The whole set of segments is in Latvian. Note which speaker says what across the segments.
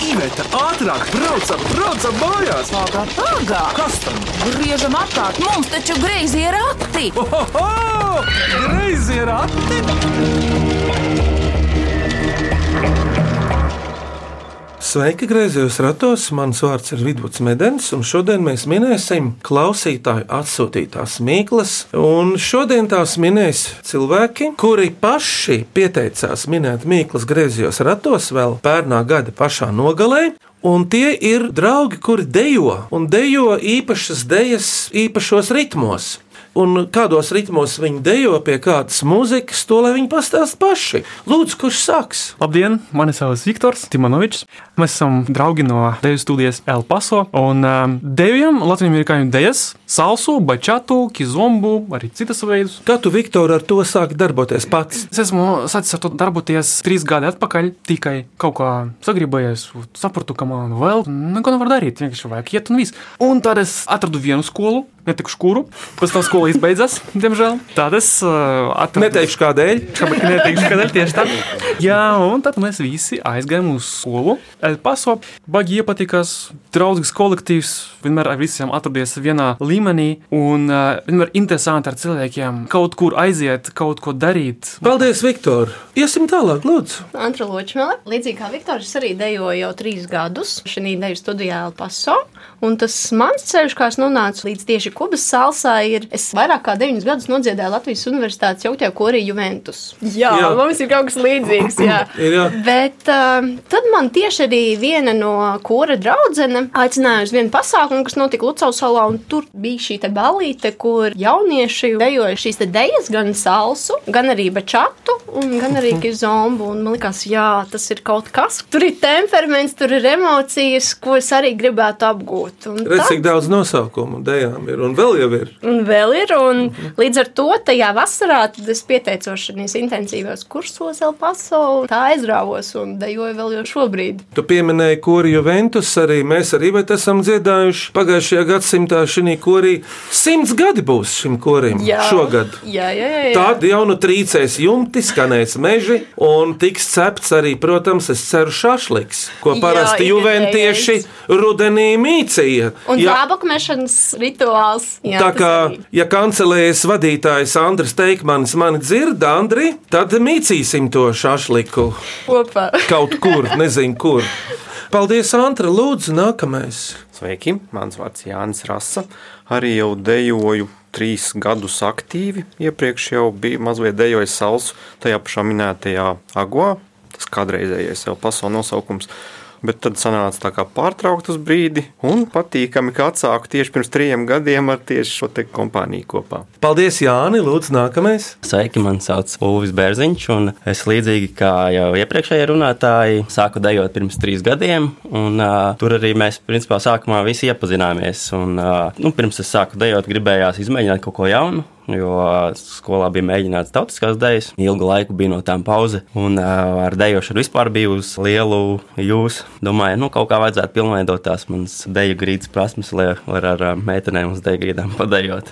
Speaker 1: Iveta, ātrāk, braucam, braucam mājās!
Speaker 2: Pagā, pagā!
Speaker 1: Kas tam?
Speaker 2: Griežam apkārt, mums taču greizi ir akti!
Speaker 1: Ohoho! Greizi ir akti!
Speaker 3: Sveiki, grazējos ratos. Mans vārds ir Vidvuds Medens, un šodien mēs minēsim klausītāju atsūtītās mīklas. Un šodien tās minēs cilvēki, kuri paši pieteicās minēt mīklas grazējos ratos vēl pērnā gada pašā nogalē. Un tie ir draugi, kuri dejo un dejo īpašas dejas, īpašos ritmos. Un kādos ritmos viņi dejo pie kādas mūzikas, to lai viņi pastāsta paši. Lūdzu, kurš sāks?
Speaker 4: Labdien, mani sauc Viktors Timonovičs. Mēs esam draugi no Deju studijas El Paso. Un um, dejojam Latvijas amerikāņu dejas, salsu, bačatu, kizombu, arī citas veidus.
Speaker 3: Kā tu, Viktor, ar to sāki darboties pats?
Speaker 4: Es esmu sācis ar to darboties trīs gadi atpakaļ, tikai kaut kā sagribējies, un sapratu, ka man vēl neko nevar darīt. Vienkārši vajag iet un viss. Un tad es atradu vienu skolu, netikšu kuru, pēc tam skola izbeidzas, diemžēl. Tad es uh, atradu.
Speaker 3: Neteikšu, kādēļ.
Speaker 4: Kāpēc neteikšu, kādēļ tieši tā? Jā, un tad mēs visi aizgājām uz skolu. Elpaso, baigi iepatikās, draugs kolektīvs, vienmēr ar visiem atradies vienā līmenī un uh, vienmēr interesanti ar cilvēkiem kaut kur aiziet, kaut ko darīt.
Speaker 3: Paldies, Viktor! Iesim tālāk, lūdzu!
Speaker 5: Antra Ločmele, līdzīgi kā Viktors, es arī dejoju jau trīs gadus šajā ideju studijā Elpaso. Un tas mans ceļš, kā es nonācu līdz tieši Kubas salsai, ir, es vairāk kā deviņus gadus nodziedāju Latvijas Universitātes jauktā korī Juventus.
Speaker 6: Jā, jā,
Speaker 3: Jā.
Speaker 6: mums ir kaut kas līdzīgs. Jā.
Speaker 3: Ir, jā.
Speaker 5: Bet uh, tad man tieši arī viena no kora draudzene aicināja uz vienu pasākumu, kas notika Lucas salā. un Tur bija šī te balīte, kur jaunieši dejoja šīs te idejas, gan salsu, gan arī bačatu, un gan arī
Speaker 3: Mhm.
Speaker 5: kizombu. Un Man liekas, jā, tas ir kaut kas. Tur ir temperaments, tur ir emocijas, ko es arī gribētu apgūt. Un
Speaker 3: Redz,
Speaker 5: tad-
Speaker 3: cik daudz nosaukumu dejām ir, un vēl jau ir.
Speaker 5: Un vēl ir, un
Speaker 3: Mhm.
Speaker 5: līdz ar to tajā vasarā tad es pieteicos šīs intensīvās kursos Elpaso, un tā aizrāvos un dejoju vēl jau šobrīd.
Speaker 3: Tu pieminēji, kuri Juventus arī mēs arī bet esam dziedājuši pagājušajā gadsimtā šī korī. Simts gadi būs šim korim
Speaker 5: Jā.
Speaker 3: šogad.
Speaker 5: Jā, jā, jā. jā.
Speaker 3: Tad jau nu trīcēs jumti, skanēs meži un tiks cepts arī, protams, es ceru, šašliks, ko
Speaker 5: Jā,
Speaker 3: parasti
Speaker 5: ir
Speaker 3: juventieši rudenī mīcīja.
Speaker 5: Un
Speaker 3: Ja-
Speaker 5: zābakmešanas rituāls. Jā,
Speaker 3: Tā
Speaker 5: tas
Speaker 3: kā,
Speaker 5: arī.
Speaker 3: ja kancelējas vadītājs Andris Teikmanis mani dzird, Andri, tad mīcīsim to šašliku
Speaker 5: kopā.
Speaker 3: kaut kur, nezinu kur. Paldies, Antra, lūdzu, nākamais.
Speaker 7: Sveiki, mans vārds Jānis Rasa. Arī jau dejoju trīs gadus aktīvi. Iepriekš jau biju mazliet dejojis salsu tajā pašā minētajā agā. Tas kādreizējais jau pasaules nosaukums. Bet tad sanāca tā kā pārtraukt uz brīdi, un patīkami, ka atsāku tieši pirms trim gadiem ar tieši šo te kompāniju kopā.
Speaker 3: Paldies, Jāni, lūdzu, nākamais.
Speaker 8: Sveiki, man sauc Uvis Bērziņš, un es līdzīgi kā jau iepriekšējie runātāji, sāku dejot pirms trīs gadiem. Un, uh, tur arī mēs, principā, sākumā visi iepazināmies. Un, uh, nu, pirms es sāku dejot, gribējās izmēģināt kaut ko jaunu. Jo ā, skolā bija mēģināts tautiskās idejas, ilgu laiku bija no tām pauze. Un ā, ar dēlošanu vispār bija uz lielu jūs. Domāju, nu kaut kā vajadzētu pilnveidot tās manas dēļu grīdas prasmes, lai var ar ā, meitenēm uz dēļu grīdām padējot.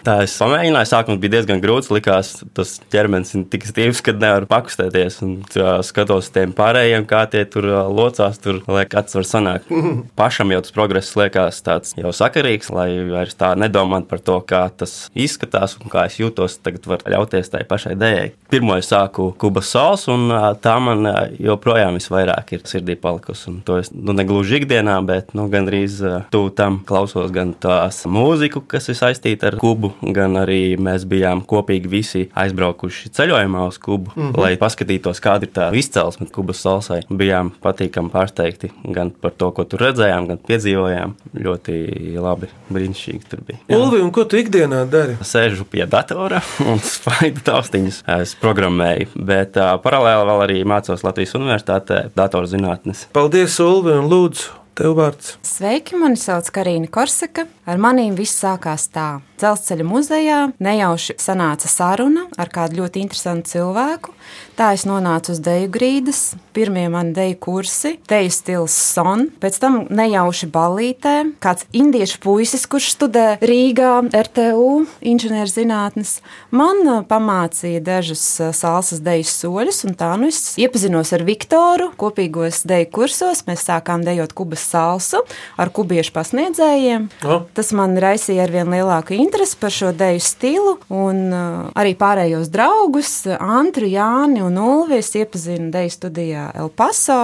Speaker 8: Tā es pamēģināju, sākums bija diezgan grūts. Likās, tas ķermenis ir tik stīvs, ka nevar pakustēties. Un, tā, skatos uz tiem pārējiem, kā tie tur ā, locās, tur lai kāds var sanākt. Pašam jau tas progress liekas tāds jau sakarīgs, lai vairs tā nedomātu par to, kā tas izskatās un kā es jūtos. Tagad var ļauties tai pašai dējai. Pirmo es sāku kubas sāls, un ā, tā man ā, joprojām visvairāk ir sirdī palikusi. Un To es nu, negluži ikdienā, bet nu, gandrīz ā, tuvu tam klausos gan tās mūziku, kas ir saistīta ar kubu, gan arī mēs bijām kopīgi visi aizbraukuši ceļojumā uz kubu, mm -hmm. lai paskatītos, kāda ir tā izcelsme kubas salsai. Bijām patīkami pārsteigti gan par to, ko tur redzējām, gan piedzīvojām. Ļoti labi, brīnišķīgi tur bija. Jā
Speaker 3: Ulvi, un ko tu ikdienā dari?
Speaker 8: sēžu pie datora un spaidu taustiņas. Es programmēju, bet uh, paralēli vēl arī mācos Latvijas Universitātē datorzinātnes.
Speaker 3: Paldies, Ulvi, un lūdzu, tev vārds.
Speaker 9: Sveiki, mani sauc Karina Korsaka. Ar maniem viss sākās tā. Dzelzceļa muzejā nejauši sanāca saruna ar kādu ļoti interesantu cilvēku. Tā es nonācu uz deju grīdas, pirmie mani deju kursi, deju stils son, pēc tam nejauši balītē. Kāds indiešu puisis, kurš studē Rīgā, RTU inženierzinātnes, man ā, pamācīja dažus ā, salsas deju soļus, un tā nu es iepazinos ar Viktoru kopīgos deju kursos. Mēs sākām dejot kubas salsu ar kubiešu pasniedzējiem.
Speaker 3: O.
Speaker 9: Tas man raisīja ar vien lielāku interesi par šo deju stilu, un uh, arī pārējos draugus, Antru, Jāni un Ulvi, es iepazinu deju studijā El Paso.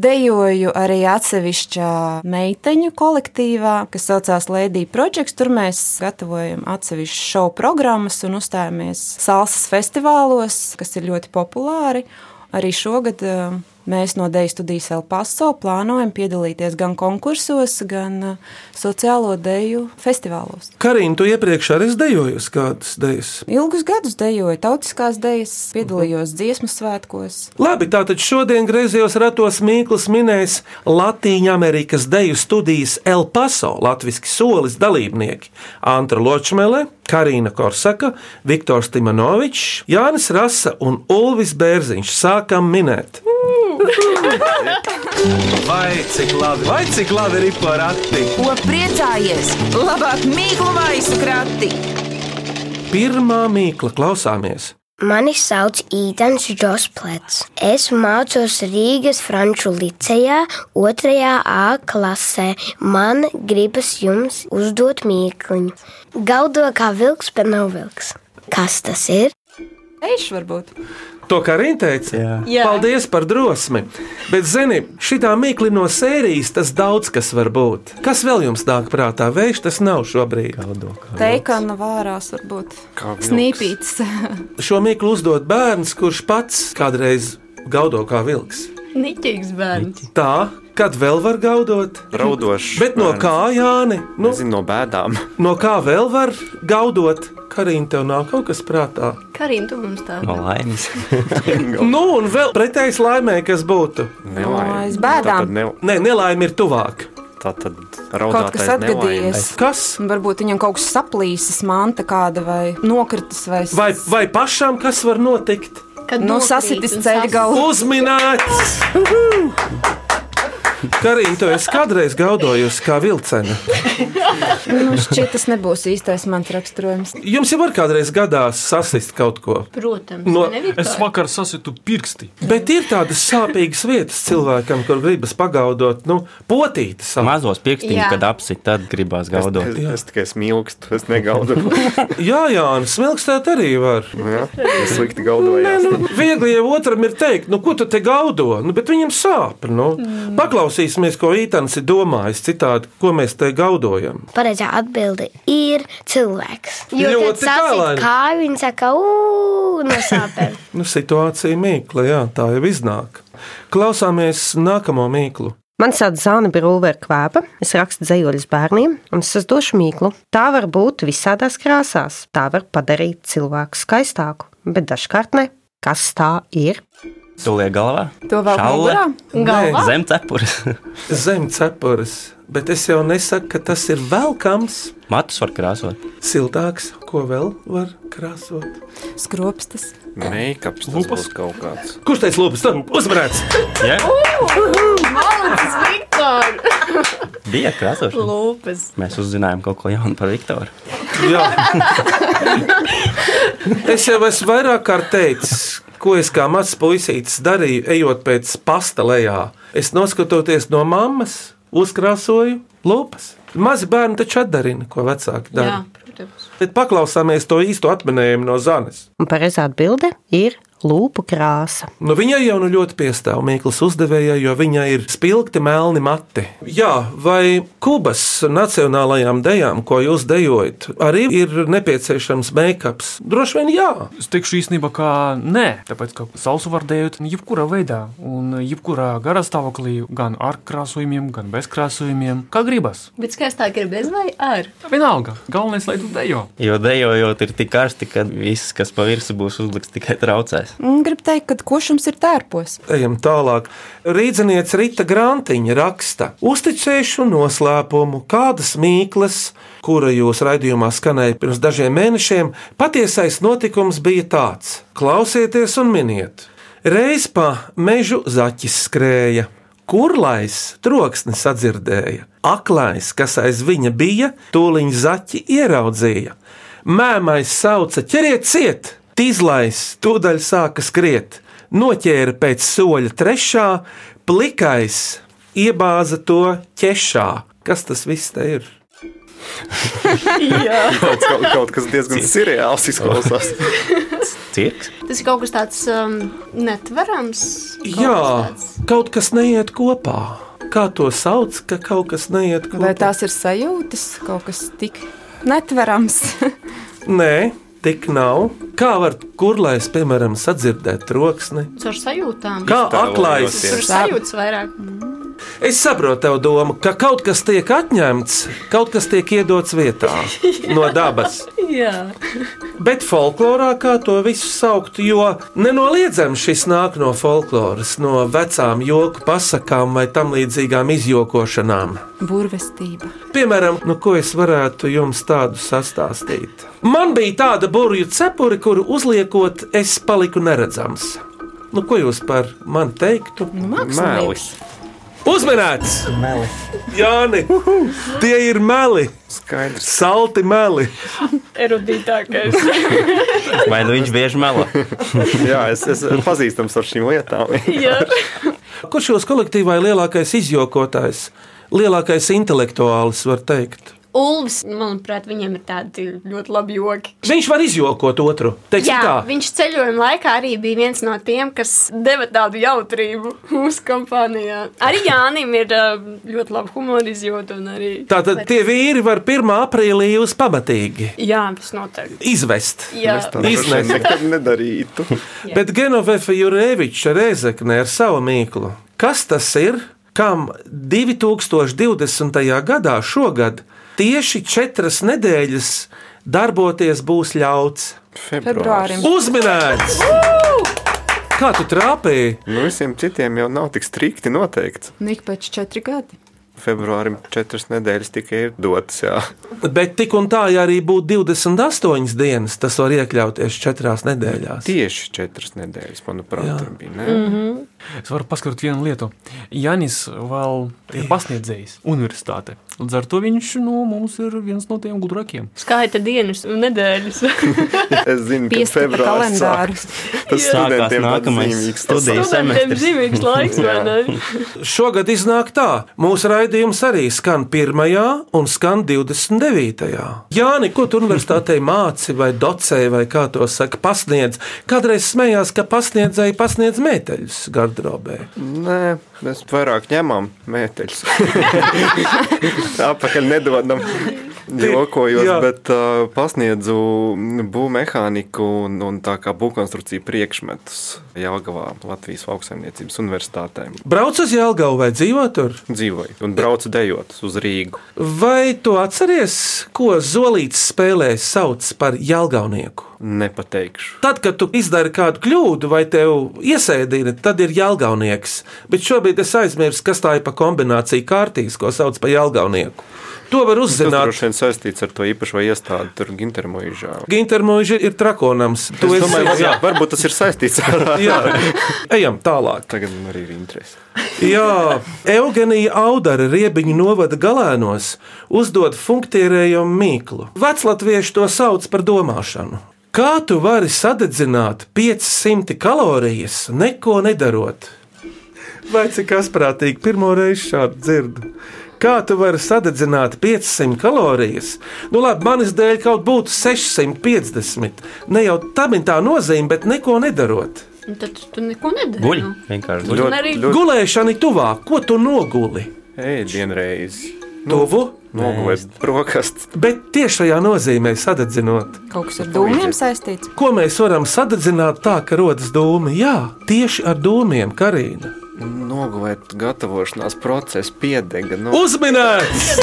Speaker 9: Dejoju arī atsevišķā meiteņu kolektīvā, kas saucās Lady Projects. Tur mēs gatavojam atsevišķu šovu programmas un uzstājamies salsas festivālos, kas ir ļoti populāri. Arī šogad eh, mēs no Deju studijas El Paso plānojam piedalīties gan konkursos, gan eh, sociālo deju festivālos.
Speaker 3: Karina, tu iepriekš arī dejojusi kādas dejas.
Speaker 9: Ilgus gadus dejoju tautiskās dejas, piedalījos dziesmu svētkos.
Speaker 3: Labi, tātad šodien griezījos ratos Mīkls minēs Latīņu Amerikas deju studijas El Paso latviski solis dalībnieki Antra Ločmele, Karina Korsaka, Viktors Timanovičs, Jānis Rasa un Ulvis Bērziņš. Sākam minēt!
Speaker 1: Vai cik labi, vai cik labi ir porati?
Speaker 2: Ko priecājies? Labāk mīklu maisu krati!
Speaker 3: Pirmā mīkla klausāmies!
Speaker 10: Mani sauc Īdens Josplets. Es mācos Rīgas Franču licejā, 2. A klasē. Man gribas jums uzdot mīkluņu. Gaudo kā vilks, bet nav vilks. Kas tas ir?
Speaker 9: Eišu varbūt.
Speaker 3: To Karina teica. Jā.
Speaker 6: Jā.
Speaker 3: Paldies par drosmi. Bet, zini, šī mīkla no sērijas tas daudz kas var būt. Kas vēl jums nāk prātā? Vējš tas nav šobrīd.
Speaker 9: Teikana vārās varbūt.
Speaker 7: Kā vilks.
Speaker 9: Snīpīts.
Speaker 3: Šo mīklu uzdod bērns, kurš pats kādreiz gaudo kā vilks.
Speaker 5: Niķīgs bērns.
Speaker 3: Tā, kad vēl var gaudot,
Speaker 7: Raudošs.
Speaker 3: bet no
Speaker 7: bērns.
Speaker 3: kā, Jāni, nu,
Speaker 7: Nezinu, no bēdām.
Speaker 3: no kā vēl var gaudot? Karina, tev nav kaut kas prātā.
Speaker 5: Karina, tu mums tā.
Speaker 8: No laimes.
Speaker 3: Nu, un vēl pretējs laimē, kas būtu.
Speaker 7: Nelaime.
Speaker 9: aiz bēdām.
Speaker 7: Tātad ne,
Speaker 3: Nē, nelaime ir tuvāk.
Speaker 7: tā tad
Speaker 9: Kaut kas
Speaker 7: raudātais nelaime.
Speaker 9: atgadījies.
Speaker 3: Kas?
Speaker 9: Un Varbūt viņam kaut kas saplīsis, manta kāda vai nokritis vai,
Speaker 3: Vai, vai pašam kas var notikt?
Speaker 5: Kad
Speaker 9: nu,
Speaker 5: nokrīt
Speaker 9: sasitis
Speaker 5: un
Speaker 9: ceļa
Speaker 5: sas-
Speaker 9: galā.
Speaker 3: Uzminēts! Karina, tu esi kādreiz gaudojusi kā vilcena.
Speaker 9: Nu, šķiet, tas nebūs īstais mans raksturojums.
Speaker 3: Jums jau var kādreiz gadās sasist kaut ko.
Speaker 5: Protams,
Speaker 3: No-
Speaker 5: no, nevis
Speaker 4: Es vakar sasitu pirksti.
Speaker 3: Bet ir tādas sāpīgas vietas cilvēkam, kur gribas pagaudot, nu, potītas.
Speaker 8: Mazos pirkstiņos,
Speaker 5: Jā.
Speaker 8: kad apsit, tad gribās gaudot.
Speaker 7: Es, es tikai smilkstu, es negaudu.
Speaker 3: Jā, jā, un smilkstēt arī var.
Speaker 7: es slikti gaudu.
Speaker 3: Nē, nu, viegli jau otram ir teikt, nu, ko tu te gaudo, nu, bet viņam sāp. Nu. Paklausīsimies, ko Itāns ir domājis citādi, ko mēs te gaudojam.
Speaker 10: Pareizā atbilde ir cilvēks. Jo tas
Speaker 3: Ļoti
Speaker 10: ir
Speaker 3: tālaini.
Speaker 10: kā viņš saka, uu, no sāpēm.
Speaker 3: Nu, situācija mīkla, jā, tā jau iznāk. Klausāmies nākamo mīklu.
Speaker 11: Man sauc Zāna Brūvera Kvēpa, es rakstu zemoļus bērniem, un es uzdošu mīklu. Tā var būt visādās krāsās, tā var padarīt cilvēku skaistāku, bet dažkārt ne. Kas tā ir?
Speaker 8: Tu liek galvā?
Speaker 9: To vēl
Speaker 8: Šalle?
Speaker 9: galvā?
Speaker 5: galā.
Speaker 8: Zem cepures.
Speaker 3: Zem cepures, bet es jau nesaku, ka tas ir velkams,
Speaker 8: Matus var krāsot.
Speaker 3: siltāks, ko vēl var krāsot.
Speaker 9: Skropstas.
Speaker 7: Meikaps tas būs kaut kāds.
Speaker 3: Kurš teica, lūpas, tad uzvarēts?
Speaker 8: Jā,
Speaker 6: Tas Viktor!
Speaker 8: bija krāsošana.
Speaker 6: Lūpas!
Speaker 8: Mēs uzzinājām kaut ko jaunu par Viktoru.
Speaker 3: Jā. es jau esmu vairāk kārt teicis, ko es kā mazs puisītis darīju, ejot pēc pasta lejā. Es noskatoties no mammas, uzkrāsoju lupas. Mazi bērni taču atdarina, ko vecāki dara.
Speaker 5: Jā, protams.
Speaker 3: Tad paklausāmies to īsto atminējumu no Zanes.
Speaker 11: Un pareizā atbilde ir lūpu krāsa.
Speaker 3: Nu, viņai jau nu ļoti piestāv Mikls uzdevējai, jo viņai ir spilgti melni mati. Jā, vai Kubas nacionālajām dejām, ko jūs dejojat, arī ir nepieciešams make-ups? Droši vien jā.
Speaker 4: Es teikšu īstenībā, ka nē, tāpēc ka sausu var dēvēt jebkurā veidā, un jebkurā garā stāvoklī, gan ar krāsojumiem, gan bez krāsojumiem, kā gribas.
Speaker 5: Bet skaistāk ir bez vai ar?
Speaker 4: Vienalga, galvenais, lai tu dejo.
Speaker 8: Jo dejojot, ir tik karsti, ka viss, kas pa virsmu būs uzlikts, tikai traucēs. spēlēs?
Speaker 9: Un Gribu teikt, ka košums ir tērpos.
Speaker 3: Ejam tālāk. Rīdzenieca Rīta Grantiņa raksta: Uzticēšu noslēpumu, kādas mīklas, kura jūs raidījumā skanēja pirms dažiem mēnešiem, patiesais notikums bija tāds: klausieties un miniet. Reiz pa mežu zaķis skrēja, kurlais troksnis sadzirdēja. Aklais, kas aiz viņa bija, tūlīt zaķi ieraudzīja. Mēmais sauca: ķeriet, ciet! Tīzlais tūdaļ sāka skriet, noķēra pēc soļa trešā, plikais iebāza to ķešā. Kas tas viss te ir?
Speaker 5: Jā.
Speaker 7: Kaut, kaut, kaut kas diezgan seriāls izklausās.
Speaker 8: Cirks?
Speaker 5: Tas ir kaut kas tāds um, netverams. kaut
Speaker 3: Jā, kaut kas neiet kopā. Kā to sauc, ka kaut kas neiet
Speaker 9: Vai
Speaker 3: kopā?
Speaker 9: tās ir sajūtas, kaut kas tik netverams?
Speaker 3: Nē, tik nav. Kā var kurlais, piemēram, sadzirdēt troksni?
Speaker 5: Caur sajūtām.
Speaker 3: Kā aklais?
Speaker 5: Tur sajūtas vairāk.
Speaker 3: Es saprotu tev domu, ka kaut kas tiek atņemts, kaut kas tiek iedots vietā no dabas.
Speaker 5: Jā.
Speaker 3: Bet folklorā kā to visu saukt, jo nenoliedzami šis nāk no folkloras, no vecām joku pasakām vai tam līdzīgām izjokošanām.
Speaker 9: Burvestība.
Speaker 3: Piemēram, nu, ko es varētu jums tādu sastāstīt? Man bija tāda burbuļu cepura, kuru uzliekot, es paliku neredzams. Nu, ko jūs par mani teiktu?
Speaker 7: mākslinieks.
Speaker 3: Uzmanīts! Meli. Jāni, tie ir meli.
Speaker 7: Skaidrs.
Speaker 3: Salti meli.
Speaker 6: Erudītākais.
Speaker 8: Vai nu viņš bieži melo?
Speaker 7: Jā, es, es pazīstams ar šīm lietām.
Speaker 6: Jā.
Speaker 3: Kurš jūs kolektīvā ir lielākais izjokotājs? Lielākais intelektuālis, var teikt.
Speaker 5: Ulvis, manuprāt, viņiem ir tādi ļoti labi joki.
Speaker 3: Viņš var izjokot otru. Teiksim
Speaker 5: Jā,
Speaker 3: tā.
Speaker 5: viņš ceļojuma laikā arī bija viens no tiem, kas deva tādu jautrību mūsu kompānijā. Arī Jānis ir ā, ļoti labi humora izjūta. un arī-
Speaker 3: Tātad tie vīri var 1. aprīlī jūs pamatīgi
Speaker 5: Jā, tas noteikti.
Speaker 3: izvest.
Speaker 5: Jā.
Speaker 7: Es tādu droši vien
Speaker 3: Iznest.
Speaker 7: nekad nedarītu.
Speaker 3: Bet Genovefa Jureviča Rezekne ar savu mīklu. Kas tas ir, kam 2020. gadā šogad tieši četras nedēļas darboties būs ļauts?
Speaker 9: Februārim.
Speaker 3: Uzminēts! Kā tu trāpīji?
Speaker 7: Nu, visiem citiem jau nav tik strikti noteikts.
Speaker 9: Nik pēc četri gadi.
Speaker 7: Februārim četras nedēļas tikai ir dotas. Jā.
Speaker 3: Bet tik un tā, ja arī būtu 28 dienas, tas var iekļauties četrās nedēļās.
Speaker 7: Tieši četras nedēļas, manuprāt,
Speaker 4: Jā.
Speaker 7: tur bija. Ne?
Speaker 4: Mhm. Es varu paskaidrot vienu lietu. Janis vēl ir pasniedzējis universitāte. Līdz ar to viņš no mums ir viens no tiem gudrākiem.
Speaker 5: Skaita dienas un nedēļas.
Speaker 7: Es zinu, ka
Speaker 5: Pieskata
Speaker 7: februāris
Speaker 5: kalendārus.
Speaker 7: sākas.
Speaker 5: Jā.
Speaker 7: Tas studentiem
Speaker 8: Sākās
Speaker 7: tāds
Speaker 8: nākamais
Speaker 7: zīmīgs.
Speaker 8: studiju
Speaker 5: Studentiem zīmīgs laiks, vai ne?
Speaker 3: Šogad iznāk tā, mūsu raidījums arī skan 1. un skan 29. Jāni, ko tu universitātei māci vai docē, vai kā to saka, pasniedz? Kādreiz smējās, ka pasniedzēji pasniedz mēteļus gardrobē.
Speaker 7: Nē, mēs vairāk ņemam mēteļus. Apakaļ nedodam. Jokojos,
Speaker 3: Jā.
Speaker 7: Jā. bet uh, pasniedzu būvmehāniku un, un tā kā būvkonstrukciju priekšmetus Jāgavā Latvijas augstsaimniecības universitātē.
Speaker 3: Brauc uz Jālgavu vai dzīvo tur?
Speaker 7: Dzīvoju un braucu dejot uz Rīgu.
Speaker 3: Vai tu atceries, ko Zolīts spēlē sauc par Jālgaunieku?
Speaker 7: Nepateikšu.
Speaker 3: Tad, kad tu izdari kādu kļūdu vai tev iesēdini, tad ir jāgaunieks. Bet šobrīd es aizmirsu, kas tā ir pa kombināciju kārtīs, ko sauc par jāgaunieku. To var
Speaker 7: Tas
Speaker 3: uzzināt.
Speaker 7: droši vien saistīts ar to īpašo iestādi, tur Gintermožā.
Speaker 3: Gintermoža ir trakonams.
Speaker 7: Es domāju, jā, varbūt tas ir saistīts ar
Speaker 3: Jā. Ejam tālāk.
Speaker 7: Tagad man arī ir interesi.
Speaker 3: Jā, Eugenija Audara riebiņu novada galēnos uzdod funkcionējumu mīklu. Veclatvieši to sauc par domāšanu. Kā tu vari sadedzināt 500 kalorijas, neko nedarot? Vai cik asprātīgi pirmo reizi šādu dzirdu? Kā tu vari sadedzināt 500 kalorijas? Nu, labi, manis dēļ kaut būtu 650. Ne jau tam ir tā nozīme, bet neko nedarot.
Speaker 5: Un Tad tu neko nedari.
Speaker 8: Guļ.
Speaker 5: nu.
Speaker 8: Vienkārši
Speaker 5: Un arī
Speaker 3: Gulēšana ir tuvāk, ko tu noguli?
Speaker 7: Ej, vienreiz.
Speaker 3: Tuvu,
Speaker 7: Nogulēt brokastis.
Speaker 3: bet tieši šajā nozīmē sadedzinot.
Speaker 9: Kaut kas ar dūmiem saistīts.
Speaker 3: Ko mēs varam sadedzināt tā, ka rodas dūmi? Jā, tieši ar dūmiem, Karina.
Speaker 7: Nogulēt gatavošanās procesa piedega. Nu,
Speaker 3: Uzminēts!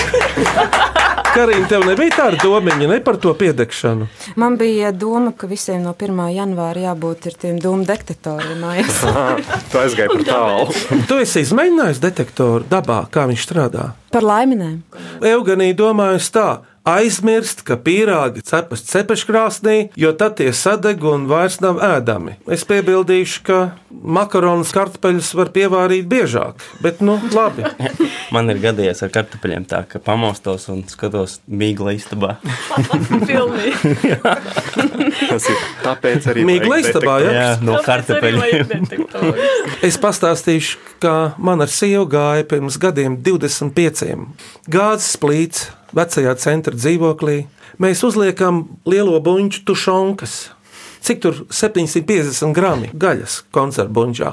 Speaker 3: Karina, tev nebija tāda domiņa ne par to piedegšanu.
Speaker 9: Man bija doma, ka visiem no 1. janvāra jābūt ir tiem dūmu detektoriem mājās.
Speaker 7: Tu aizgāji par tālu.
Speaker 3: Tu esi izmēģinājis detektoru dabā, kā viņš strādā.
Speaker 9: Par laiminēm.
Speaker 3: Eugenija domājas tā. Aizmirst, ka pīrāgi cepas cepeškrāsnī, jo tad tie sadeg un vairs nav ēdami. Es piebildīšu, ka makaronus kartupeļus var pievārīt biežāk, bet nu labi.
Speaker 8: Man ir gadījies ar kartupeļiem tā, ka pamostos un skatos mīkla istabā.
Speaker 6: Pilnīgi.
Speaker 7: Tas ir tāpēc arī.
Speaker 3: Mīkla
Speaker 7: vajag
Speaker 3: istabā, jā?
Speaker 8: Jā, no
Speaker 6: Tāpēc arī vajag
Speaker 8: kartupeļiem.
Speaker 6: detektoru.
Speaker 3: Es pastāstīšu, kā man ar sievu gāja pirms gadiem 25. Gāzes plīts vecajā centra dzīvoklī. Mēs uzliekam lielo buļbuļsu tušonkas. Cik tur 750 gramu gaļas koncertbuļģā?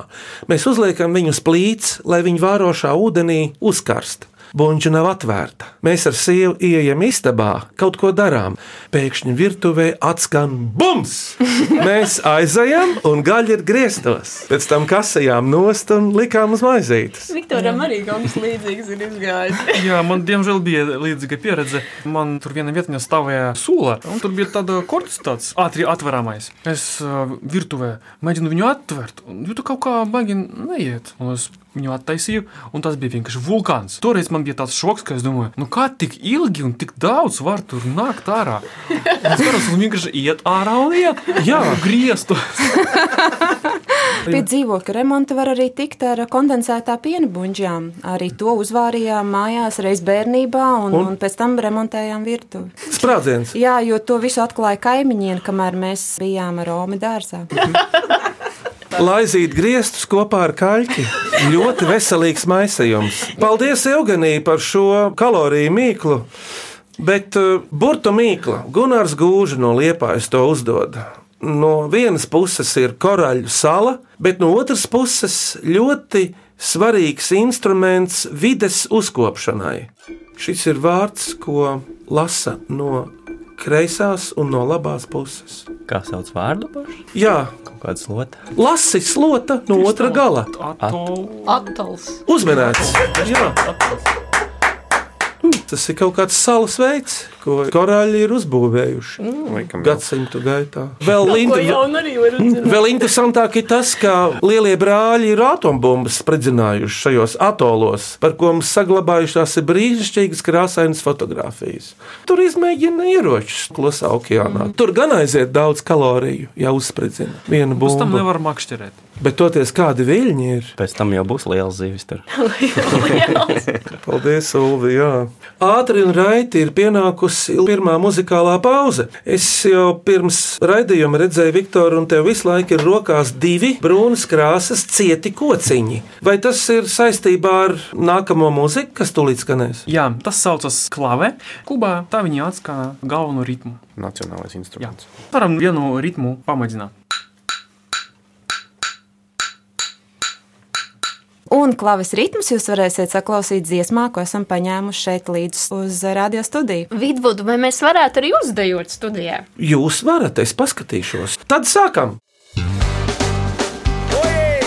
Speaker 3: Mēs uzliekam viņu uz plīts, lai viņi vārošā ūdenī uzkarst. Buļģa nav atvērta. Mēs ar sievu ienākam istabā, kaut ko darām. Pēkšņi virtuvē atskan bums! Mēs aizējām, un gaļa ir grieztos. Pēc tam kasējām nost un likām uz maizītes.
Speaker 6: Viktoram arī kaut kas līdzīgs ir izgājis.
Speaker 4: Jā, man diemžēl bija līdzīga pieredze. Man tur vienā vietā stāvēja sula, un tur bija tāda korpus, tāds ātri atverāmais. Es uh, virtuvē mēģinu viņu atvērt, un jūtu kaut kā baigi neiet. Un es viņu attaisīju, un tas bija vienkārši vulkāns. Toreiz man bija tāds šoks, ka es domāju, nu kā tik ilgi un tik daudz var tur nākt ārā. Un Es skatos, un vienkārši iet ārā un iet. Jā, griestu.
Speaker 9: Pie dzīvokļa remonta var arī tikt ar kondensētā piena buļģām. Arī to uzvārījām mājās reiz bērnībā, un,
Speaker 3: Un?
Speaker 9: un? un pēc tam remontējām virtuvi.
Speaker 3: Sprādziens!
Speaker 9: Jā, jo to visu atklāja kaimiņiem, kamēr mēs bijām ar Romu dārzā.
Speaker 3: Laizīt griestus kopā ar kaļķi. Ļoti veselīgs maisījums. Paldies, Eugenija, par šo kaloriju mīklu. Bet uh, burbuļu mīkla Gunārs Gūža no Liepājas to uzdod. No vienas puses ir koraļu sala, bet no otras puses ļoti svarīgs instruments vides uzkopšanai. Šis ir vārds, ko lasa no kreisās un no labās puses.
Speaker 8: Kā sauc vārdu pašu?
Speaker 3: Jā,
Speaker 8: Kaut kāds lota.
Speaker 3: lasi slota no otra gala.
Speaker 4: Atol.
Speaker 6: Attals.
Speaker 3: Uzmanīts! Jā, tas ir kaut kāds salas veids, ko korāļi ir uzbūvējuši
Speaker 7: Laikam, jā.
Speaker 3: gadsimtu gaitā. Vēl,
Speaker 6: Ko
Speaker 3: inter...
Speaker 6: jaunu arī var uzzināt.
Speaker 3: vēl interesantāk ir tas, ka lielie brāļi ir atombumbas spridzinājuši šajos atolos, par ko mums saglabājušās ir brīnišķīgas krāsainas fotogrāfijas. Tur izmēģina ieročus klusā okeānā. Tur gan aiziet daudz kaloriju, ja uzspridzina vienu
Speaker 4: Uz tam
Speaker 3: bumbu.
Speaker 4: nevar makšķerēt.
Speaker 3: Bet toties kādi viļņi ir.
Speaker 8: Pēc tam jau būs liels zivis tur.
Speaker 3: Paldies, Ulvi. Jā. Ātri un raiti ir pienākusi pirmā muzikālā pauze. Es jau pirms raidījuma redzēju, Viktor, un tev visu laiku ir rokās divi brūnas krāsas cieti kociņi. Vai tas ir saistībā ar nākamo mūziku, kas tulīt skanēs?
Speaker 4: Jā, tas saucas klave. Kubā tā viņi atskan galveno ritmu.
Speaker 7: Nacionālais
Speaker 4: Jā,
Speaker 7: instruments.
Speaker 4: varam vienu ritmu pamēģināt.
Speaker 9: Un klaves ritmus jūs varēsiet saklausīt dziesmā, ko esam paņēmuši šeit līdz uz radio studiju.
Speaker 5: Vidvudu, vai mēs varētu arī uzdejot studijā?
Speaker 3: Jūs varat, es paskatīšos. Tad sākam!
Speaker 12: Oye,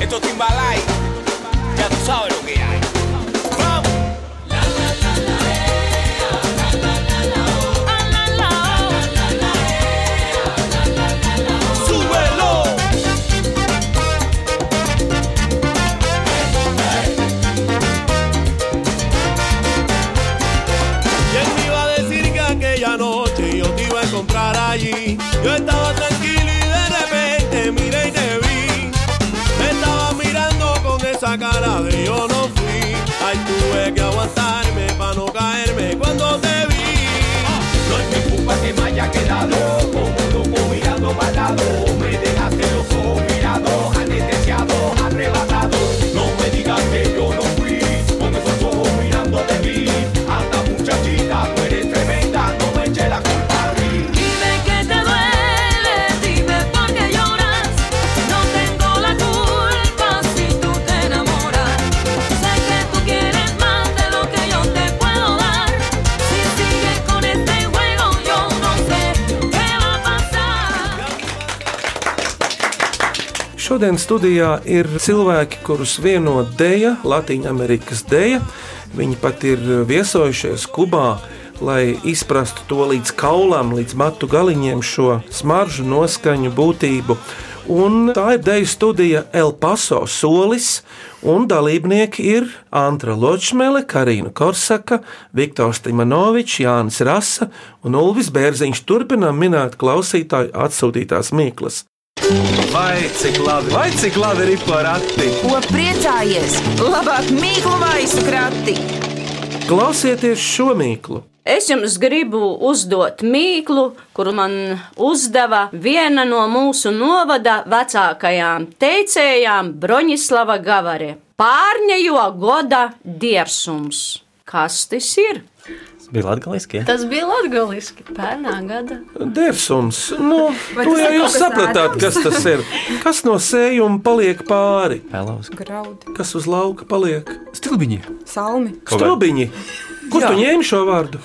Speaker 12: esto es Timbalay, ya tú sabes lo que hay. Vamos. Súbelo. Y él me iba a decir que aquella noche yo te iba a encontrar allí. Yo estaba tranquilo y de repente miré y te vi. Me estaba mirando con esa cara de yo no fui. Ay, tuve que aguantarme para no caerme cuando te vi. No es mi culpa que me haya quedado como loco mirando para lado. Me dejaste los ojos mirados, anestesiados, arrebatados. No me digas que yo no fui con esos ojos mirando de mí. Hasta muchachita, tú eres tremenda, no me eche la culpa a mí.
Speaker 13: Dime que te duele, dime por qué lloras. No tengo la culpa si tú te enamoras. Sé que tú quieres más de lo que yo te puedo dar. Si sigues con este juego, yo no sé qué va a pasar.
Speaker 3: Šodien studijā ir cilvēki, kurus vieno dēļa, Latvijas Amerikas dēļa. Viņi pat ir viesojušies Kubā, lai izprastu to līdz kaulam, līdz matu galiņiem šo smaržu noskaņu būtību. Un tā ir deju studija El Paso solis, un dalībnieki ir Antra Ločmele, Karina Korsaka, Viktors Timanovičs, Jānis Rasa un Ulvis Bērziņš. Turpinām minēt klausītāju atsūtītās mīklas.
Speaker 1: Vai cik labi, vai cik labi ir porakti?
Speaker 2: Ko priecājies? Labāk mīklu maisu krati!
Speaker 3: Klausieties šo mīklu!
Speaker 14: Es jums gribu uzdot mīklu, kuru man uzdeva viena no mūsu novada vecākajām teicējām Broņislava Gavare. Pārņejo goda diersums. Kas tas ir?
Speaker 8: Tas bija latgaliski.
Speaker 5: Tas bija latgaliski pērnā gada.
Speaker 3: Dersums, nu,
Speaker 5: Vai
Speaker 3: to
Speaker 5: tas
Speaker 3: jau
Speaker 5: ir
Speaker 3: jūs
Speaker 5: kaut kas
Speaker 3: sapratāt, kas
Speaker 5: ēdams?
Speaker 3: tas ir. Kas no sējuma paliek pāri?
Speaker 8: Pelaus.
Speaker 9: Graudi,
Speaker 3: Kas uz lauka paliek? Stilbiņi.
Speaker 9: salmi,
Speaker 3: Strobiņi. Kur
Speaker 4: Jā.
Speaker 3: tu ņēmi šo vārdu?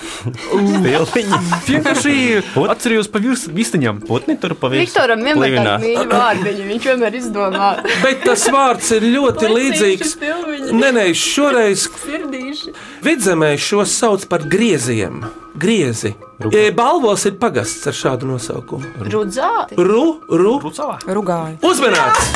Speaker 8: Pilpiņi.
Speaker 4: Vienkārši atcerējos pa virs- vistiņam.
Speaker 8: Putni tur pa
Speaker 5: Viktoram vienmēr ir tādi mīļi vārdiņi, viņš vienmēr izdomā.
Speaker 3: Bet tas vārds ir ļoti līdzīgs. Nē, nē, šoreiz
Speaker 6: Sirdīši.
Speaker 3: vidzemē šos sauc par grieziem. Griezi. E, Balvos ir pagasts ar šādu nosaukumu.
Speaker 5: Rudzāti.
Speaker 3: Ru, ru.
Speaker 9: rugāji.
Speaker 3: Uzmanīts!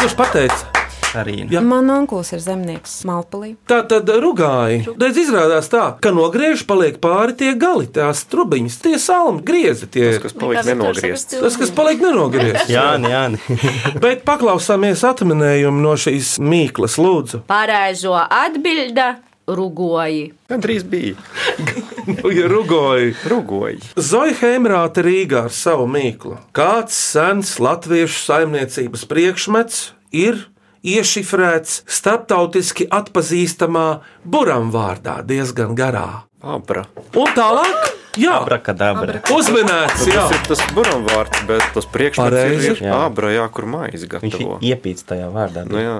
Speaker 3: Kurš pateica?
Speaker 8: Arī.
Speaker 3: Jā.
Speaker 9: Man onkurs ir zemnieks Malpalī.
Speaker 3: Tā tad rugāji. Tad izrādās tā, ka no grieža paliek pāri tie gali, tās trubiņas, tie salmi, griezi. Tie. Tas, kas
Speaker 7: paliek Nekā Viktors nenogriezts. saka,
Speaker 3: Tas, kas paliek nenogriezts.
Speaker 8: Jā, jā.
Speaker 3: Bet paklausāmies atminējumu no šīs mīklas, lūdzu.
Speaker 14: Pareizo atbildi - rugoji.
Speaker 7: Gan drīz bija.
Speaker 3: Rugoji.
Speaker 7: Rugoji.
Speaker 3: Zoja Hemrāte Rīgā ar savu mīklu. Kāds sens latviešu saimniecības priekšmets ir iešifrēts starptautiski atpazīstamā buramvārdā diezgan garā.
Speaker 7: Abra.
Speaker 3: Un tālāk, jā,
Speaker 8: Abrakadabra.
Speaker 3: uzminēts, jā.
Speaker 7: Tas ir tas burbuļvārds, bet tas
Speaker 3: Pareizi.
Speaker 7: priekšmets ir
Speaker 3: Jā.
Speaker 7: abra, jā, kur mājas
Speaker 8: Viņš
Speaker 7: gatavo.
Speaker 8: iepīts tajā vārdā.
Speaker 7: Nu, jā.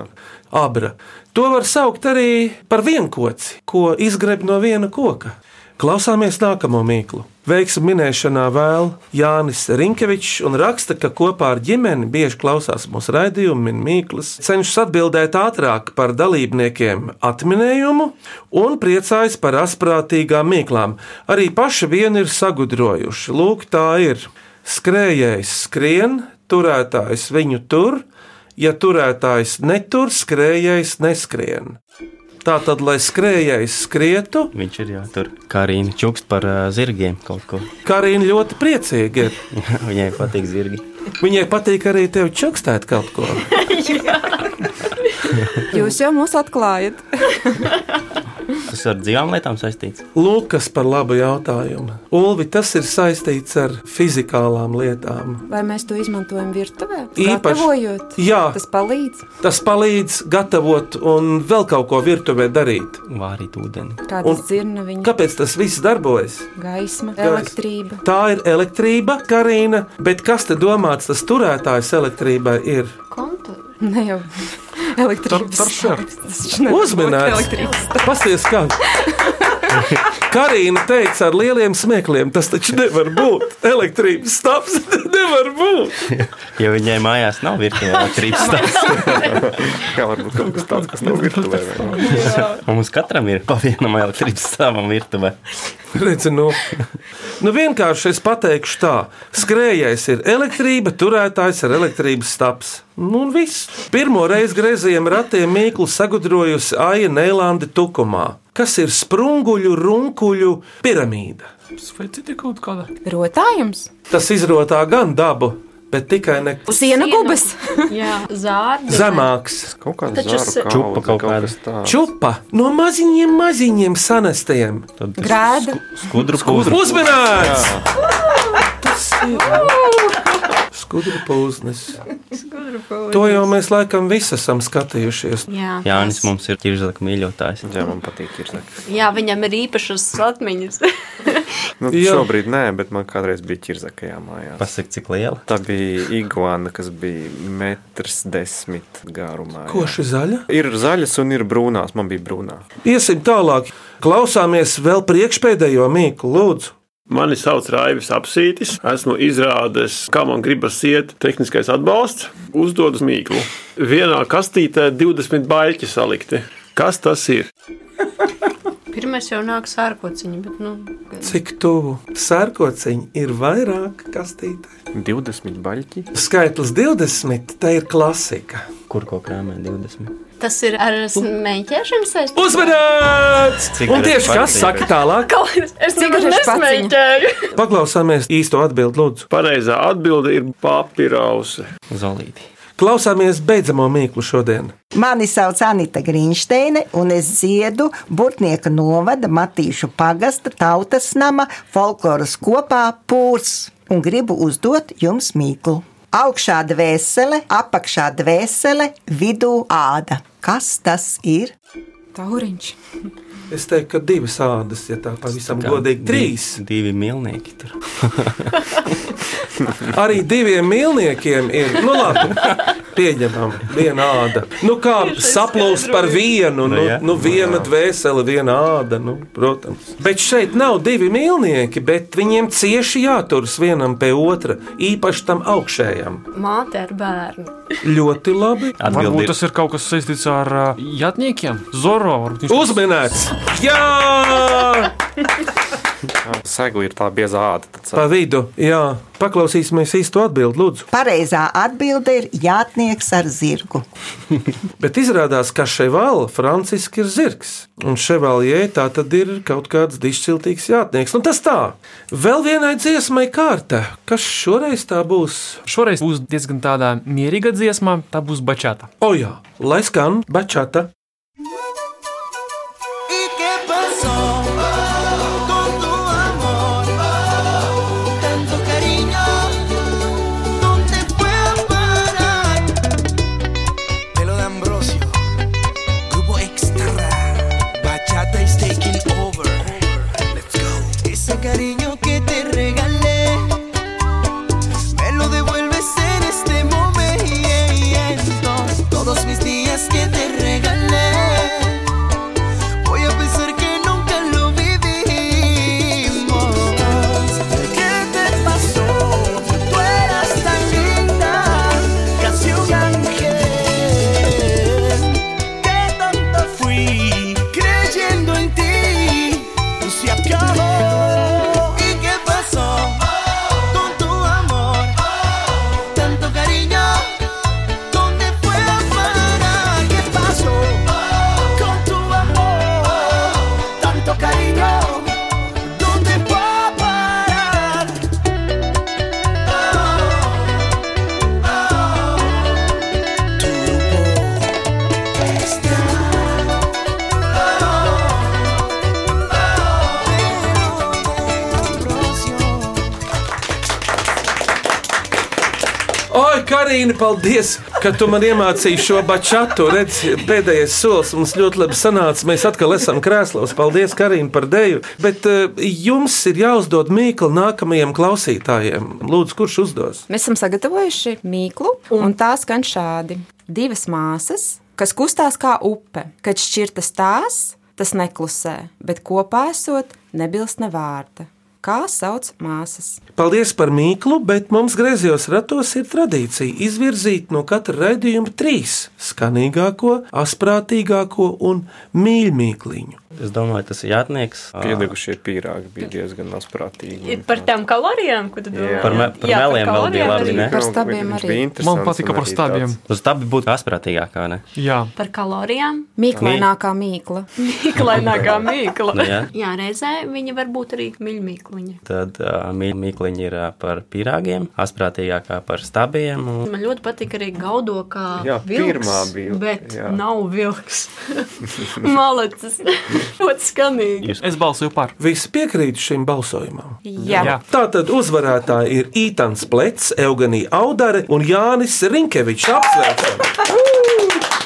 Speaker 3: Abra. To var saukt arī par vienkoci, ko izgreb no viena koka. Klausāmies nākamo mīklu. Veiksmu minēšanā vēl Jānis Rinkevičs un raksta, ka kopā ar ģimeni bieži klausās mūsu raidījumu min mīklas, cenšas atbildēt ātrāk par dalībniekiem atminējumu un priecājas par asprātīgām mīklām. Arī paši vien ir sagudrojuši. Lūk, tā ir. Skrējējs skrien, turētājs viņu tur, ja turētājs netur, skrējējs neskrien. Tā tad, lai skrējējs skrietu,
Speaker 8: Viņš ir jau tur. Karina čukst par uh, zirgiem kaut ko.
Speaker 3: Karina ļoti priecīga ir.
Speaker 8: Viņai patīk zirgi.
Speaker 3: Viņai patīk arī tevi čukstēt kaut ko.
Speaker 9: Jūs jau mūs atklājat.
Speaker 8: Tas ar dzīvām lietām saistīts.
Speaker 3: Lūk, kas par labu jautājumu. Ulvi, tas ir saistīts ar fizikālām lietām.
Speaker 9: Vai mēs to izmantojam virtuvē?
Speaker 3: Īpaši.
Speaker 9: Gatavojot,
Speaker 3: Jā.
Speaker 9: tas palīdz.
Speaker 3: Tas palīdz gatavot un vēl kaut ko virtuvē darīt.
Speaker 8: Vārīt ūdeni.
Speaker 9: Kādas dzirna viņa
Speaker 3: Kāpēc tas viss darbojas?
Speaker 9: gaisma,
Speaker 3: Gaisma.
Speaker 9: elektrība.
Speaker 3: Tā ir elektrība, Karina, bet kas te domāts, tas turētājs elektrībai ir?
Speaker 9: Ne jau elektrības
Speaker 3: Uzmanīgs! Pasties, kā! Karina teica ar lieliem smiekliem, tas taču nevar būt. Elektrības stāvs nevar būt.
Speaker 8: Jo viņai mājās nav virkne elektrības stāsts.
Speaker 7: jā, varbūt kaut kas tāds, kas nav virtuvē. vai ne?
Speaker 8: Un mums katram ir pa vienam elektrības stāvam virtuvē.
Speaker 3: Redzi, nu. nu vienkārši es pateikšu tā. Skrējējs ir elektrība, turētājs ir elektrības stāvs. Nu, un viss. Pirmo reizi griezījiem ratiem mīklu sagudrojusi Aija Neilande Tukumā, kas ir sprunguļu runkuļu piramīda.
Speaker 4: Vai citi kaut kāda?
Speaker 9: Rotājums,
Speaker 3: Tas izrotā gan dabu, bet tikai ne
Speaker 9: siena gubas.
Speaker 5: Jā, zārdi.
Speaker 3: zemāks.
Speaker 7: Nu, Kaut kāda
Speaker 5: Taču
Speaker 7: zāru
Speaker 5: s-
Speaker 8: Čupa kaut kāda.
Speaker 7: kāda.
Speaker 3: Čupa no maziņiem, maziņiem sanastajiem.
Speaker 9: Grēda,
Speaker 8: Skudru
Speaker 3: Skudru
Speaker 8: pūzru.
Speaker 3: uzmanīgs! Skudru pūznes. To jau mēs laikam visi esam skatījušies.
Speaker 5: Jā.
Speaker 8: Jānis mums ir tirzaka mīļotājs.
Speaker 7: Jā, man patīk īrzaka.
Speaker 5: Jā, viņam ir īpašas atmiņas.
Speaker 7: Nu,
Speaker 3: Jā.
Speaker 7: šobrīd nē, bet man kādreiz bija īrzaka mājās.
Speaker 8: Pasaka, cik liela.
Speaker 7: Tā bija iguana, kas bija metrs desmit garumā. jā.
Speaker 3: Ko šī zaļa?
Speaker 7: Ir zaļas un ir brūnās. Man bija brūnā.
Speaker 3: Iesim tālāk. Klausāmies vēl priekšpēdējo mīklu, lūdzu.
Speaker 15: Mani sauc Raivis Apsītis, esmu izrādes, kā man gribas iet, tehniskais atbalsts. Uzdodas mīklu. Vienā kastītē 20 baļķi salikti. Kas tas ir?
Speaker 6: Pirmais jau nāk sārkociņi, bet, nu,
Speaker 3: Cik tuvu sērkociņi ir vairāk kastītē?
Speaker 7: 20 baļķi.
Speaker 3: Skaitlis 20, tā ir klasika.
Speaker 8: Kur ko krāmē 20?
Speaker 5: Tas ir ar smēķēšanu saistīts.
Speaker 3: Uzmanīts!
Speaker 8: Cik
Speaker 3: Un
Speaker 8: ir
Speaker 3: tieši kas
Speaker 8: svarīgi?
Speaker 3: saka tālāk?
Speaker 6: Es
Speaker 5: Cik
Speaker 6: nekad
Speaker 5: ir špaciņi?
Speaker 6: nesmēķēju.
Speaker 3: Paklausāmies īsto atbildi, lūdzu.
Speaker 15: Pareizā atbilde ir papīrausi.
Speaker 8: Zolīti.
Speaker 3: Klausāmies beidzamo mīklu šodien.
Speaker 16: Mani sauc Anita Grīnšteine, un es dziedu Bortnieka novada Matīšu pagasta tautas nama folkloras kopā pūrs. Un gribu uzdot jums mīklu. Augšā dvēsele, apakšā dvēsele, vidū āda. Kas tas ir?
Speaker 9: Tauriņš.
Speaker 3: Es teiktu, ka divas ādas, ja tā pavisam
Speaker 8: Kā
Speaker 3: godīgi,
Speaker 8: di-
Speaker 3: trīs.
Speaker 8: Divi milnieki tur.
Speaker 3: Arī diviem mīlniekiem ir. Nu, labi, pieņemam, viena āda. Nu, kā saplūst par vienu, nu,
Speaker 8: jā.
Speaker 3: nu viena dvēsele, viena āda, nu, protams. Bet šeit nav divi mīlnieki, bet viņiem cieši jāturas vienam pie otra, īpaši tam augšējam.
Speaker 5: Māte ar bērnu.
Speaker 3: Ļoti labi.
Speaker 4: Varbūt tas ir kaut kas saistīts ar uh, jātniekiem. Zoro, varbūt viņš
Speaker 3: Uzminēts! Jā!
Speaker 7: Segli ir tā biezā āda. tad
Speaker 3: Pa
Speaker 7: sāk-
Speaker 3: vidu, jā, paklausīsimies īsto atbildi, lūdzu.
Speaker 16: Pareizā atbilde ir jātnieks ar zirgu.
Speaker 3: Bet izrādās, ka ševāla franciski ir zirgs, un ševālijai tā tad ir kaut kāds dišciltīgs jātnieks. Un tas tā, vēl vienai dziesmai kārta, kas šoreiz tā būs.
Speaker 4: Šoreiz būs diezgan tādā mierīga dziesma, tā būs bačāta.
Speaker 3: O jā, lai skan bačāta.
Speaker 12: ¿Y qué pasó con tu amor? Tanto cariño, ¿dónde fue a parar? Pelo de Ambrosio, grupo extra, bachata is taking over. Let's go. Ese cariño que te regalé, me lo devuelves en este momento. Todos mis días que te regalé. Voy a pensar que nunca lo vivimos. ¿Qué te pasó? Tú eras tan linda, casi un ángel. Qué tonta fui creyendo en ti. Se acabó. ¿Y qué pasó con tu amor? Tanto cariño. ¿Dónde fue a parar? ¿Qué pasó con tu amor? Tanto cariño, ¿dónde fue a parar? Oh, oh, tu grupo extra. Oh, oh, pero de ambrosio.
Speaker 3: Oi, Karina, paldies, ka tu man iemācīji šo bačātu. Redz, pēdējais solis mums ļoti labi sanāca. Mēs atkal esam krēslos. Paldies, Karina, par dēju. Bet eh, jums ir jāuzdod mīklu nākamajiem klausītājiem. Lūdzu, kurš uzdos?
Speaker 9: Mēs esam sagatavojuši mīklu, un tā skan šādi. Divas māsas, kas kustās kā upe, kad šķirtas tās, tas neklusē, bet kopā esot, nebilst ne vārda. Kā sauc māsas?
Speaker 3: Paldies par mīklu, bet mums griezījos ratos ir tradīcija izvirzīt no katra raidījuma trīs - skanīgāko, asprātīgāko un mīļākliņu.
Speaker 8: Es domāju, tas ir jātnieks.
Speaker 7: Pielikušie pīrāgi bija diezgan asprātīgi.
Speaker 6: Ir par tām kalorijām, ko tu domā?
Speaker 8: Par me- par meliem vēl bija
Speaker 6: kalorijām
Speaker 8: labi,
Speaker 6: arī.
Speaker 8: ne? Par
Speaker 9: stabiem arī.
Speaker 4: Man patika par stabiem.
Speaker 8: Ah, Uz tā būtu asprātīgākā, ne?
Speaker 4: Jā.
Speaker 5: Par kalorijām.
Speaker 9: Mīklainākā mīkla.
Speaker 5: Mīklainākā mīkla.
Speaker 8: Nu, jā.
Speaker 5: Jā, reizē viņa var būt arī mīļmīkliņa.
Speaker 8: Tad uh, mīkliņi ir uh, par pīrāgiem, asprātīgākā par stabiem. Un...
Speaker 5: Man ļoti patīk arī gaudo, kā
Speaker 8: Jā,
Speaker 5: vilks,
Speaker 8: pirmā bija,
Speaker 5: Bet
Speaker 8: jā.
Speaker 5: nav vilks. Malacis. Ļoti skanīgi.
Speaker 4: Es balsoju par.
Speaker 3: Visi piekrīt šim balsojumam.
Speaker 5: Jā. Jā.
Speaker 3: Tātad uzvarētāji ir Itāns Plets, Eugenija Audare un Jānis Rinkevičs. Apsveicam!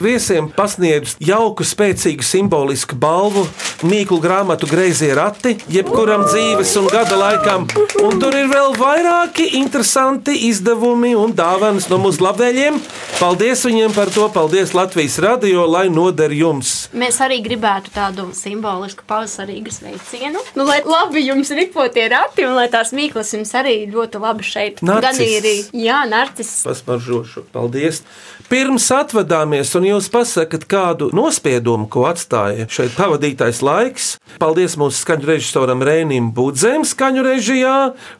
Speaker 3: Viesiem pasniedz jauku, spēcīgu, simbolisku balvu, mīklu grāmatu greizie rati, jebkuram dzīves un gada laikam. Un tur ir vēl vairāki interesanti izdevumi un dāvanas no mūsu labvēlīgiem. Paldies viņiem par to! Paldies Latvijas radio, lai noder jums!
Speaker 5: Mēs arī gribētu tādu simbolisku pavasarīgu sveicienu. Nu, lai labi jums ripotie rati, un lai tās mīklas jums arī ļoti labi šeit.
Speaker 3: Narciss.
Speaker 5: Gan ir, jā, narcis.
Speaker 3: pasmaržošu. Paldies! Pirms atvadāmies un jūs pasakat kādu nospiedumu, ko atstāja šeit pavadītais laiks. Paldies mūsu skaņu režisoram Rēnim Budzēm, skaņu režijā,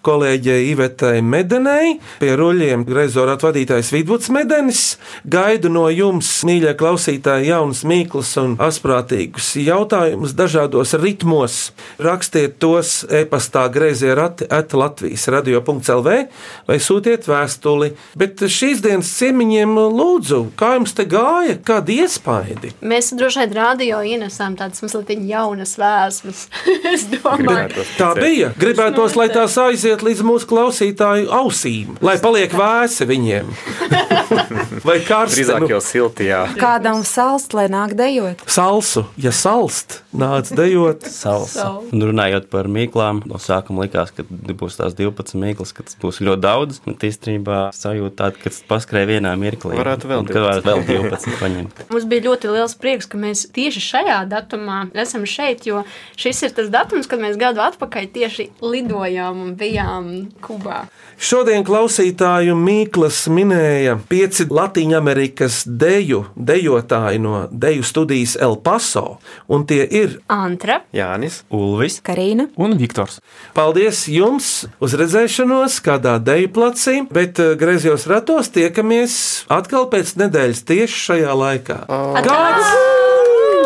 Speaker 3: kolēģei Ivetai Medenei, pie ruļiem reizorāt vadītājs Vidvuds Medenis. Gaidu no jums, mīļie klausītāji, jaunas mīklas un asprātīgus jautājumus dažādos ritmos. Rakstiet tos e-pastā grazījā rati at Latvijas radio.lv vai sūtiet vēstuli. Bet šīs dienas ciemiņiem lūdzu, kā jums te gāja, kādi iespaidi?
Speaker 5: Mēs droši vien rādījām, ienesām tādas mazliet jaunas vēsmas. es domāju,
Speaker 3: Tā bija. Gribētos, lai tās aiziet līdz mūsu klausītāju ausīm, lai paliek vēsi viņiem. Vai kārsti?
Speaker 7: Drīzāk jau silti, jā.
Speaker 9: Kādam salst, lai nāk dejot?
Speaker 3: Salsu, ja salst, nāc dejot.
Speaker 8: Salsa. Un runājot par mīklām, no sākuma likās, ka būs tās 12 mīklas, ka tas būs ļoti daudz. Bet īstenībā sajūta tāda, ka tas paskrēja vienā mirklī.
Speaker 7: Varētu vēl
Speaker 8: Un ka varētu
Speaker 7: 12.
Speaker 8: vēl 12 paņemt.
Speaker 5: Mums bija ļoti liels prieks, ka mēs tieši šajā datumā esam šeit, jo šis ir tas datums, kad mēs gadu atpakaļ tieši lidojām un bijām Kubā.
Speaker 3: Šodien klausītāju Mīklas minēja pieci Latvijas-Amerikas deju dejotāji no deju studijas El Paso, un tie ir
Speaker 5: Antra.
Speaker 7: Jānis,
Speaker 8: Ulvis,
Speaker 9: Karina
Speaker 4: un Viktors.
Speaker 3: Paldies jums uz redzēšanos kādā deju placī, bet eh, griezos ratos tiekamies atkal pēc nedēļas tieši šajā laikā. Kāds,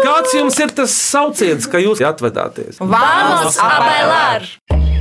Speaker 3: kāds jums ir tas sauciens, ka jūs atvedāties?
Speaker 13: Vamos a bailar!